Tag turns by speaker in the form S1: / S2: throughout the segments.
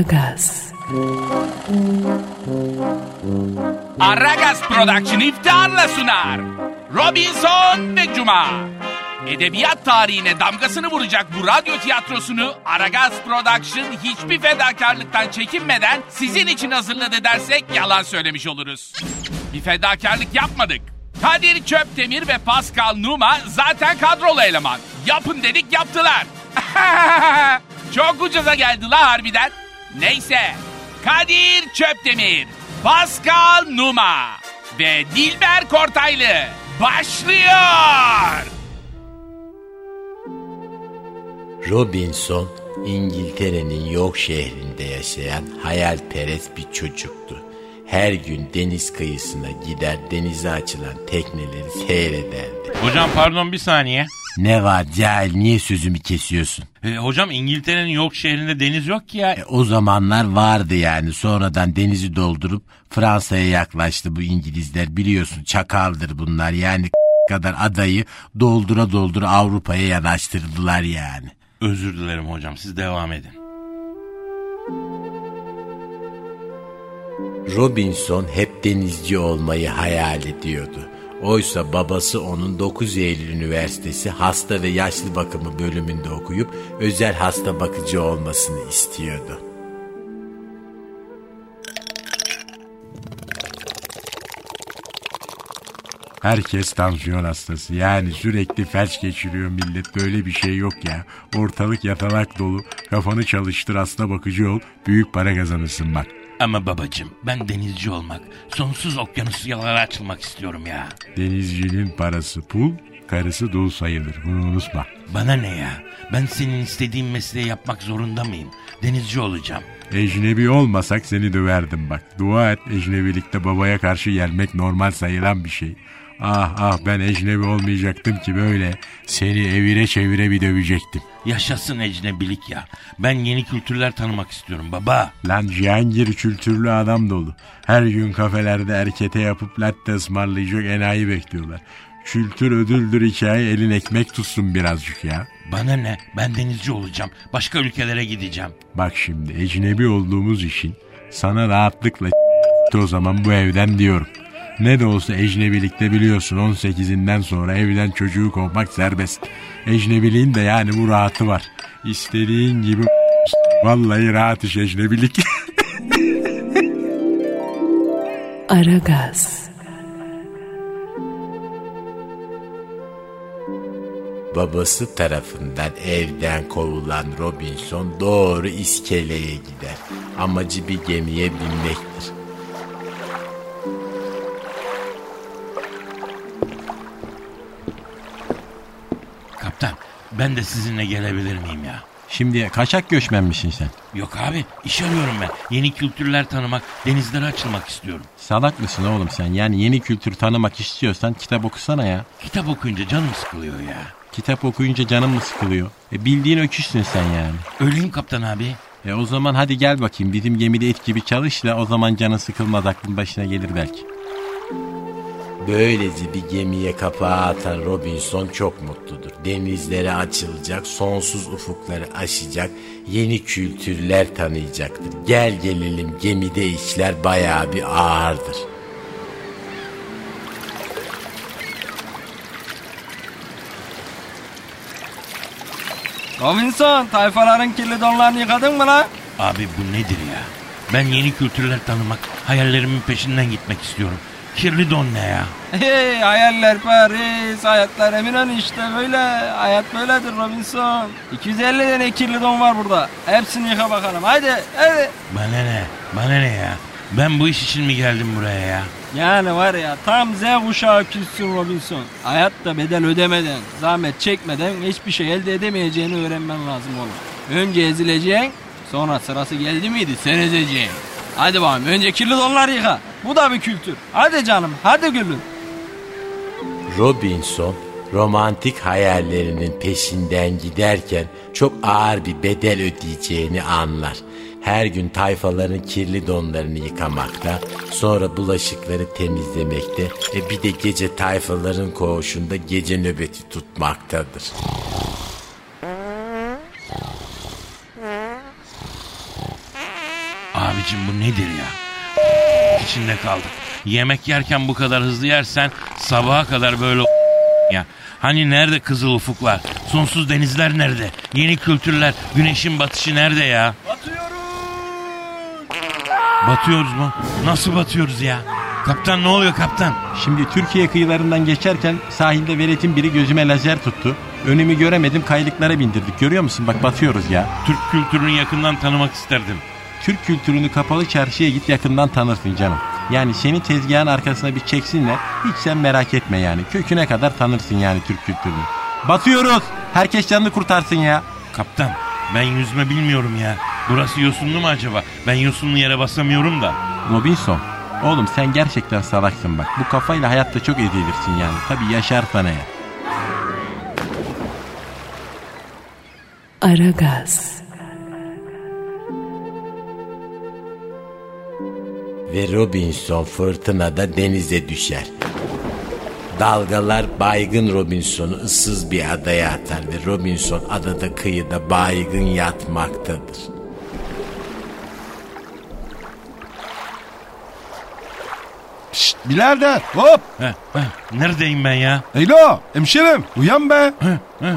S1: Aragaz,
S2: Aragaz Production iftiharla sunar. Robinson ve Cuma. Edebiyat tarihine damgasını vuracak bu radyo tiyatrosunu Aragaz Production hiçbir fedakarlıktan çekinmeden sizin için hazırladı dersek yalan söylemiş oluruz. Bir fedakarlık yapmadık. Kadir Çöptemir ve Pascal Numa zaten kadrolu eleman. Yapın dedik yaptılar. Çok ucuza geldi la harbiden. Neyse Kadir Çöptemir, Pascal Numa ve Dilber Kortaylı başlıyor.
S3: Robinson İngiltere'nin York şehrinde yaşayan hayalperest bir çocuktu. Her gün deniz kıyısına gider denize açılan tekneleri seyrederdi.
S4: Hocam pardon bir saniye.
S3: Ne var cahil niye sözümü kesiyorsun?
S4: E, hocam İngiltere'nin York şehrinde deniz yok ki ya.
S3: E, o zamanlar vardı yani sonradan denizi doldurup Fransa'ya yaklaştı bu İngilizler biliyorsun çakaldır bunlar yani kadar adayı doldura doldura Avrupa'ya yanaştırdılar yani.
S4: Özür dilerim hocam siz devam edin.
S3: Robinson hep denizci olmayı hayal ediyordu. Oysa babası onun 9 Eylül Üniversitesi hasta ve yaşlı bakımı bölümünde okuyup özel hasta bakıcı olmasını istiyordu. Herkes tansiyon hastası. Yani sürekli felç geçiriyor millet. Böyle bir şey yok ya. Ortalık yatalak dolu. Kafanı çalıştır hasta bakıcı ol. Büyük para kazanırsın bak.
S4: Ama babacım ben denizci olmak, sonsuz okyanus yalara açılmak istiyorum ya.
S3: Denizcinin parası pul, karısı dul sayılır. Bunu unutma.
S4: Bana ne ya? Ben senin istediğin mesleği yapmak zorunda mıyım? Denizci olacağım.
S3: Ecnebi olmasak seni döverdim bak. Dua et ecnebilikte babaya karşı gelmek normal sayılan bir şey. Ah ah ben ecnebi olmayacaktım ki böyle seni evire çevire bir dövecektim.
S4: Yaşasın ecnebilik ya. Ben yeni kültürler tanımak istiyorum baba.
S3: Lan Cihangir kültürlü adam dolu. Her gün kafelerde erkete yapıp latte ısmarlayacak enayi bekliyorlar. Kültür ödüldür hikaye elin ekmek tutsun birazcık ya.
S4: Bana ne? Ben denizci olacağım. Başka ülkelere gideceğim.
S3: Bak şimdi ecnebi olduğumuz için sana rahatlıkla o zaman bu evden diyorum. Ne de olsa ecnebilikte biliyorsun 18'inden sonra evden çocuğu kovmak serbest. Ecnebiliğin de yani bu rahatı var. İstediğin gibi vallahi rahat iş ecnebilik.
S1: Aragaz,
S3: Babası tarafından evden kovulan Robinson doğru iskeleye gider. Amacı bir gemiye binmektir.
S4: Kaptan ben de sizinle gelebilir miyim ya?
S3: Şimdi kaçak göçmenmişsin sen.
S4: Yok abi iş arıyorum ben. Yeni kültürler tanımak, denizlere açılmak istiyorum.
S3: Salak mısın oğlum sen? Yani yeni kültür tanımak istiyorsan kitap okusana ya.
S4: Kitap okuyunca canım sıkılıyor ya.
S3: Kitap okuyunca canın mı sıkılıyor? E bildiğin öküzsün sen yani.
S4: Öleyim kaptan abi.
S3: E o zaman hadi gel bakayım bizim gemide et gibi çalış da o zaman canın sıkılmaz aklın başına gelir belki. Böylece bir gemiye kapağı atan Robinson çok mutludur. Denizlere açılacak, sonsuz ufukları aşacak, yeni kültürler tanıyacaktır. Gel gelelim gemide işler bayağı bir ağırdır.
S5: Robinson, tayfaların kirli donlarını yıkadın mı lan?
S4: Abi bu nedir ya? Ben yeni kültürler tanımak, hayallerimin peşinden gitmek istiyorum. Kirli don ne ya?
S5: Hey, hayaller Paris, hayatlar Eminönü işte böyle. Hayat böyledir Robinson. 250 tane kirli don var burada. Hepsini yıka bakalım, haydi, haydi.
S4: Bana ne? Bana ne ya? Ben bu iş için mi geldim buraya ya?
S5: Yani var ya tam Z kuşağı küssün Robinson. Hayatta bedel ödemeden, zahmet çekmeden hiçbir şey elde edemeyeceğini öğrenmen lazım oğlum. Önce ezileceksin, sonra sırası geldi miydi sen ezeceksin. Hadi bakalım önce kirli donları yıka. Bu da bir kültür. Hadi canım, hadi gülüm.
S3: Robinson romantik hayallerinin peşinden giderken çok ağır bir bedel ödeyeceğini anlar. Her gün tayfaların kirli donlarını yıkamakta, sonra bulaşıkları temizlemekte ve bir de gece tayfaların koğuşunda gece nöbeti tutmaktadır.
S4: Abicim bu nedir ya? İçinde kaldık. Yemek yerken bu kadar hızlı yersen sabaha kadar böyle ya. Hani nerede kızıl ufuklar? Sonsuz denizler nerede? Yeni kültürler, güneşin batışı nerede ya? Batıyoruz. Batıyoruz mu? Nasıl batıyoruz ya? Kaptan ne oluyor kaptan?
S1: Şimdi Türkiye kıyılarından geçerken sahilde veletin biri gözüme lazer tuttu. Önümü göremedim kaydıklara bindirdik. Görüyor musun? Bak batıyoruz ya.
S4: Türk kültürünü yakından tanımak isterdim.
S1: Türk kültürünü kapalı çarşıya git yakından tanırsın canım. Yani seni tezgahın arkasına bir çeksinler. Hiç sen merak etme yani. Köküne kadar tanırsın yani Türk kültürünü. Batıyoruz. Herkes canını kurtarsın ya.
S4: Kaptan ben yüzme bilmiyorum ya. Burası yosunlu mu acaba? Ben yosunlu yere basamıyorum da.
S1: Robinson. Oğlum sen gerçekten salaksın bak. Bu kafayla hayatta çok ezilirsin yani. Tabii yaşarsan eğer.
S6: Aragaz,
S3: Ve Robinson fırtınada denize düşer. Dalgalar baygın Robinson'u ıssız bir adaya atar ve Robinson adada kıyıda baygın yatmaktadır.
S7: Şşt birader hop.
S4: Heh, heh, neredeyim ben ya?
S7: Alo hemşerim uyan be.
S4: Heh, heh.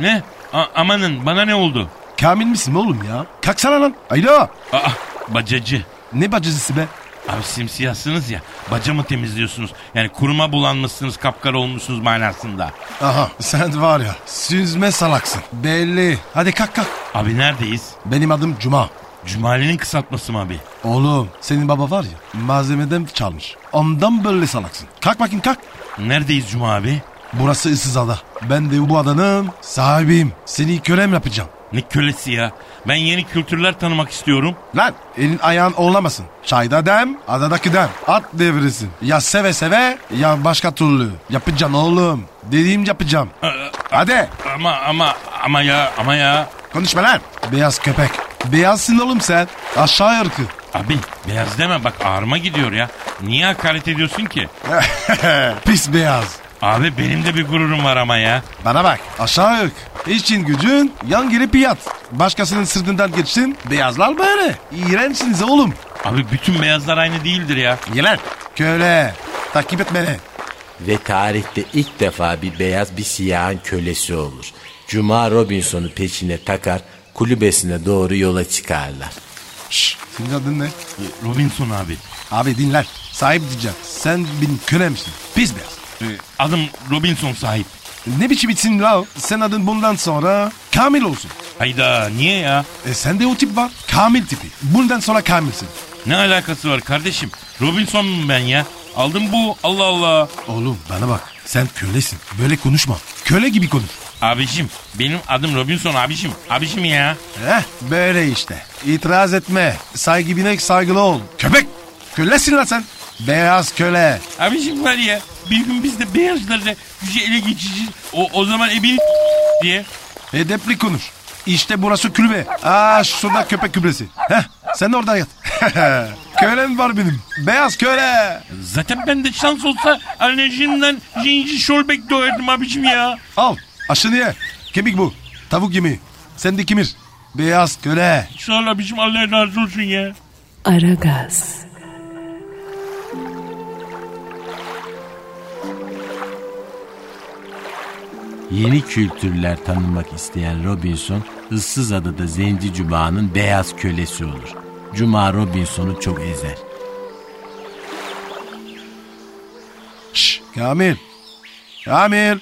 S4: Ne? A- amanın bana ne oldu?
S7: Kamil misin oğlum ya? Kalksana lan. Alo.
S4: Aa, bacacı.
S7: Ne bacısı be?
S4: Abi simsiyahsınız ya. Bacamı temizliyorsunuz. Yani kuruma bulanmışsınız, kapkara olmuşsunuz manasında.
S7: Aha sen var ya süzme salaksın. Belli. Hadi kalk kalk.
S4: Abi neredeyiz?
S7: Benim adım Cuma.
S4: Cumali'nin kısaltması mı abi?
S7: Oğlum senin baba var ya malzemeden çalmış. Ondan böyle salaksın. Kalk bakayım kalk.
S4: Neredeyiz Cuma abi?
S7: Burası ıssız ada. Ben de bu adanın sahibiyim. Seni kölem yapacağım.
S4: Ne kölesi ya. Ben yeni kültürler tanımak istiyorum.
S7: Lan elin ayağın oğlamasın. Çayda dem, adadaki dem. At devrisin. Ya seve seve ya başka türlü. Yapacağım oğlum. Dediğim yapacağım.
S4: Aa,
S7: Hadi
S4: Ama ama ama ya ama ya.
S7: konuşma lan. Beyaz köpek. Beyazsın oğlum sen. Aşağı ırkı.
S4: Abi beyaz deme bak ağrıma gidiyor ya. Niye hakaret ediyorsun ki?
S7: Pis beyaz.
S4: Abi benim de bir gururum var ama ya.
S7: Bana bak aşağı ırk. İçin gücün yan gelip yat. Başkasının sırtından geçsin. Beyazlar böyle. İğrençsiniz oğlum.
S4: Abi bütün beyazlar aynı değildir ya.
S7: Yelen. Köle. Takip et beni.
S3: Ve tarihte ilk defa bir beyaz bir siyahın kölesi olur. Cuma Robinson'u peşine takar, kulübesine doğru yola çıkarlar.
S7: Şşş. Senin adın ne?
S4: Robinson abi.
S7: Abi dinler. Sahip diyeceğim. Sen benim kölemsin. Pis beyaz.
S4: Adım Robinson sahip.
S7: Ne biçim isim la? o? Sen adın bundan sonra Kamil olsun.
S4: Hayda niye ya?
S7: E sende o tip var. Kamil tipi. Bundan sonra Kamil'sin.
S4: Ne alakası var kardeşim? Robinson mu ben ya? Aldım bu Allah Allah.
S7: Oğlum bana bak. Sen kölesin. Böyle konuşma. Köle gibi konuş.
S4: Abicim benim adım Robinson abicim. Abicim ya.
S7: Heh böyle işte. İtiraz etme. Saygı binek saygılı ol. Köpek. Kölesin lan sen. Beyaz köle.
S4: Abicim var ya bir gün biz de beyazlarla güce ele geçeceğiz. O, o zaman ebeni diye.
S7: Edepli konuş. İşte burası kulübe. Aa şurada köpek kübresi. Heh sen de orada yat. Kölem var benim. Beyaz köle.
S4: Zaten ben de şans olsa alerjimden Jinji Şolbek doğardım abicim ya.
S7: Al aşını ye. Kemik bu. Tavuk yemeği. Sen de kimir. Beyaz köle.
S4: Sağ ol abicim Allah razı olsun ya.
S6: Aragaz,
S3: Yeni kültürler tanımak isteyen Robinson, ıssız adada Zenci Cuma'nın beyaz kölesi olur. Cuma Robinson'u çok ezer.
S7: Şşş Kamil. Kamil.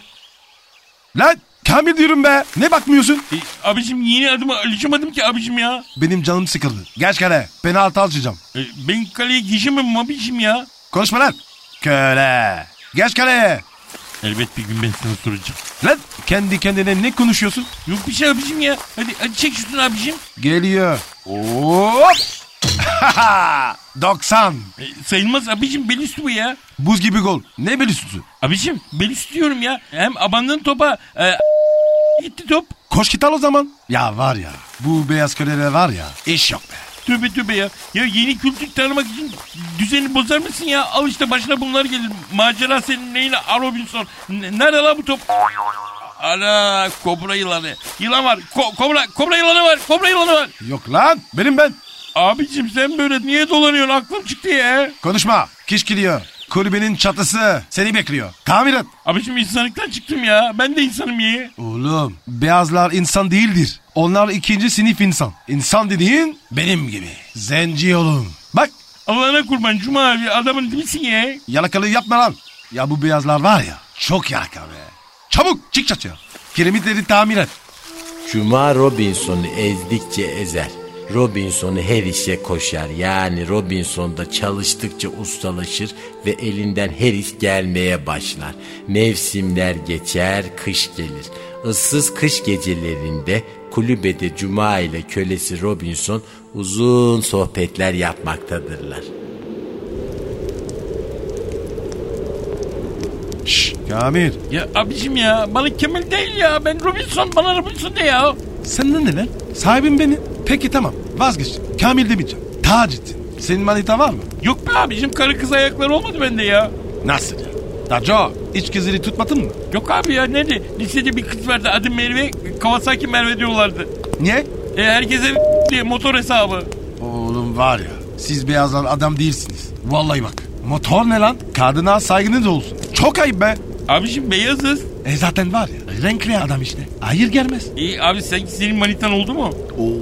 S7: Lan Kamil diyorum be. Ne bakmıyorsun?
S4: E, abicim yeni adıma alışamadım ki abicim ya.
S7: Benim canım sıkıldı. Geç kale. Penaltı alacağım.
S4: E, ben kaleye geçemem abicim ya.
S7: Konuşma lan. Köle. Geç kaleye.
S4: Elbet bir gün ben sana soracağım.
S7: Lan kendi kendine ne konuşuyorsun?
S4: Yok bir şey abicim ya. Hadi, hadi çek şutunu abicim.
S7: Geliyor. Hop. 90.
S4: E, sayılmaz abicim bel üstü bu ya.
S7: Buz gibi gol. Ne belüsüsü?
S4: Abicim bel üstü diyorum ya. Hem abandın topa e, gitti top.
S7: Koş git al o zaman. Ya var ya. Bu beyaz kölelere var ya. İş yok be.
S4: Tövbe tövbe ya. Ya yeni kültür tanımak için düzeni bozar mısın ya? Al işte başına bunlar gelir. Macera senin neyine A Robinson. N- Nerede lan bu top? Ana kobra yılanı. Yılan var. Ko- kobra, kobra yılanı var. Kobra yılanı var.
S7: Yok lan. Benim ben.
S4: Abicim sen böyle niye dolanıyorsun aklım çıktı ya.
S7: Konuşma. Kiş gidiyor. Kulübenin çatısı seni bekliyor. Tamir et.
S4: Abicim insanlıktan çıktım ya. Ben de insanım ya.
S7: Oğlum beyazlar insan değildir. Onlar ikinci sinif insan. İnsan dediğin benim gibi. Zenci oğlum. Bak
S4: Allah'ına kurban Cuma abi adamın dibisin ya.
S7: yalakalı yapma lan. Ya bu beyazlar var ya çok yalaka be. Çabuk çık çatıya. Kiremitleri tamir et.
S3: Cuma Robinson'u ezdikçe ezer. Robinson'u her işe koşar. Yani Robinson da çalıştıkça ustalaşır ve elinden her iş gelmeye başlar. Mevsimler geçer, kış gelir. Issız kış gecelerinde kulübede Cuma ile kölesi Robinson uzun sohbetler yapmaktadırlar.
S7: Şşş Kamil.
S4: Ya abicim ya bana Kemal değil ya. Ben Robinson bana Robinson de ya.
S7: Senden ne lan? Sahibim beni. Peki tamam vazgeç. Kamil demeyeceğim. Taceddin. Senin manita var mı?
S4: Yok be abicim karı kız ayakları olmadı bende ya.
S7: Nasıl ya? Daco iç kızını tutmadın mı?
S4: Yok abi ya nerede? Lisede bir kız vardı adı Merve. Kawasaki Merve diyorlardı.
S7: Niye?
S4: E, herkese diye motor hesabı.
S7: Oğlum var ya siz beyazlar adam değilsiniz. Vallahi bak. Motor ne lan? Kadına saygınız olsun. Çok ayıp be.
S4: Abicim beyazız.
S7: E zaten var ya renkli adam işte. Hayır gelmez.
S4: İyi E, abi sen senin manitan oldu mu?
S7: Oo.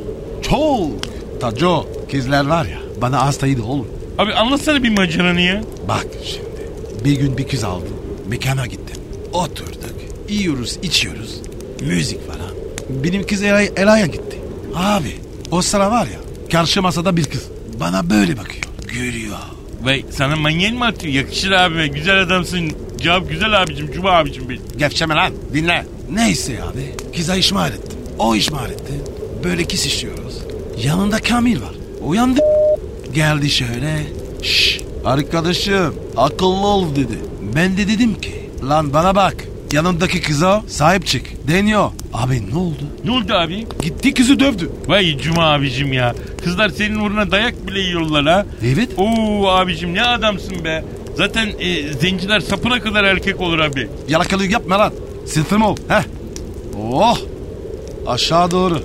S7: Çok. Taco kızlar var ya bana hastaydı oğlum.
S4: Abi anlatsana bir maceranı ya.
S7: Bak şimdi bir gün bir kız aldım. Mekana gittim. Oturduk. Yiyoruz içiyoruz. Müzik falan. Benim kız Elay- Ela'ya gitti. Abi o sıra var ya karşı masada bir kız. Bana böyle bakıyor. Gülüyor.
S4: Vay sana manyen mi atıyor? Yakışır abime. Güzel adamsın. Cevap güzel abicim. Cuma abicim benim.
S7: Gevşeme lan dinle. Neyse abi kıza işmal ettim. O işmal etti. Böyle kis işliyoruz. Yanında Kamil var. Uyandı. Geldi şöyle. Şş, arkadaşım akıllı ol dedi. Ben de dedim ki lan bana bak. Yanımdaki kıza sahip çık. Deniyor. Abi ne oldu?
S4: Ne oldu abi?
S7: Gitti kızı dövdü.
S4: Vay Cuma abicim ya. Kızlar senin uğruna dayak bile yiyorlar ha.
S7: Evet.
S4: Oo abicim ne adamsın be. Zaten e, zenciler sapına kadar erkek olur abi.
S7: Yalakalık yapma lan. Sınıfım ol. Heh. Oh. Aşağı doğru.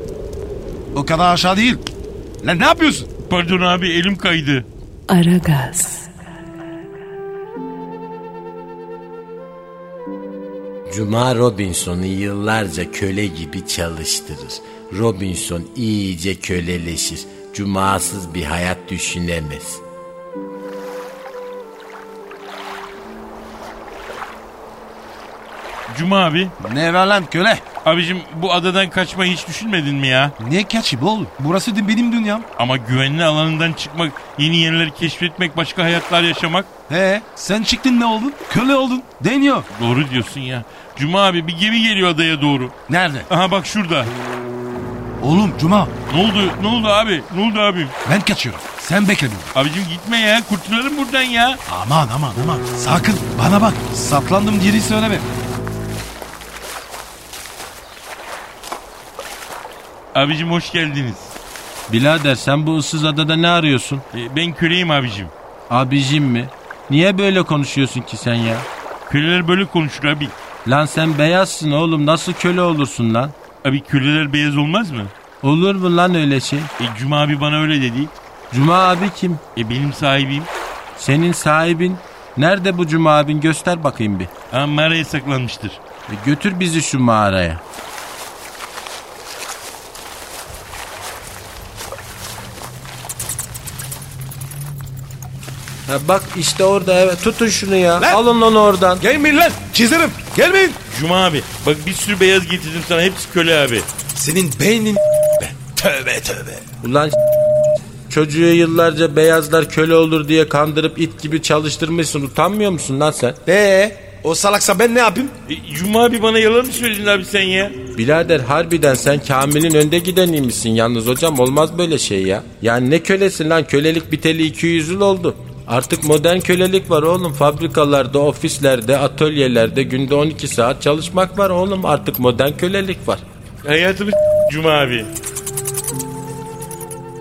S7: O kadar aşağı değil. Lan ne yapıyorsun?
S4: Pardon abi elim kaydı.
S6: Aragaz.
S3: Cuma Robinson'u yıllarca köle gibi çalıştırır. Robinson iyice köleleşir. Cumasız bir hayat düşünemez.
S4: Cuma abi.
S7: Ne ver lan köle?
S4: Abicim bu adadan kaçmayı hiç düşünmedin mi ya?
S7: Ne kaçı oğlum? Burası da benim dünyam.
S4: Ama güvenli alanından çıkmak, yeni yerleri keşfetmek, başka hayatlar yaşamak.
S7: He sen çıktın ne oldun? Köle oldun. Deniyor.
S4: Doğru diyorsun ya. Cuma abi bir gemi geliyor adaya doğru.
S7: Nerede?
S4: Aha bak şurada.
S7: Oğlum Cuma
S4: Ne oldu? Ne oldu abi? Ne oldu abim?
S7: ben kaçıyorum. Sen bekle beni.
S4: Abicim gitme ya. Kurtulalım buradan ya.
S7: Aman aman aman. Sakın bana bak. Saplandım geri söyleme.
S4: Abicim hoş geldiniz.
S1: Bilader sen bu ıssız adada ne arıyorsun?
S4: E, ben köleyim abicim.
S1: Abicim mi? Niye böyle konuşuyorsun ki sen ya?
S4: Köleler böyle konuşur abi.
S1: Lan sen beyazsın oğlum nasıl köle olursun lan?
S4: Abi köleler beyaz olmaz mı?
S1: Olur mu lan öyle şey?
S4: E, Cuma abi bana öyle dedi.
S1: Cuma abi kim?
S4: E benim sahibim.
S1: Senin sahibin. Nerede bu Cuma abin göster bakayım bir.
S4: Ha, mağaraya saklanmıştır.
S1: E götür bizi şu mağaraya.
S3: Ha bak işte orada evet tutun şunu ya. Alın onu oradan.
S7: Gelmeyin lan. Çizerim. Gelmeyin.
S4: Cuma abi bak bir sürü beyaz getirdim sana. Hepsi köle abi.
S7: Senin beynin be. Tövbe tövbe.
S3: Ulan
S1: Çocuğu yıllarca beyazlar köle olur diye kandırıp it gibi çalıştırmışsın. Utanmıyor musun lan sen?
S7: Ee, o salaksa ben ne yapayım?
S4: E, Cuma abi bana yalan mı söyledin abi sen ya?
S1: Birader harbiden sen Kamil'in önde gideniymişsin yalnız hocam olmaz böyle şey ya. Yani ne kölesin lan kölelik biteli 200 yıl oldu. Artık modern kölelik var oğlum fabrikalarda, ofislerde, atölyelerde günde 12 saat çalışmak var oğlum artık modern kölelik var.
S4: Hayatımı Cuma abi.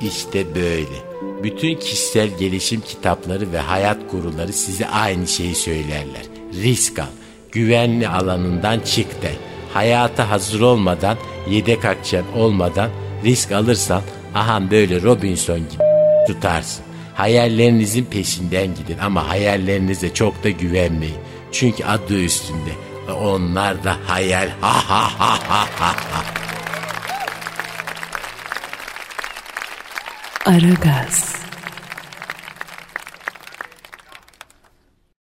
S3: İşte böyle. Bütün kişisel gelişim kitapları ve hayat guruları size aynı şeyi söylerler. Risk al. Güvenli alanından çık de. Hayata hazır olmadan, yedek akçen olmadan risk alırsan ahan böyle Robinson gibi tutarsın. Hayallerinizin peşinden gidin ama hayallerinize çok da güvenmeyin. Çünkü adı üstünde. Onlar da hayal. Ha ha ha ha ha.
S6: Aragaz.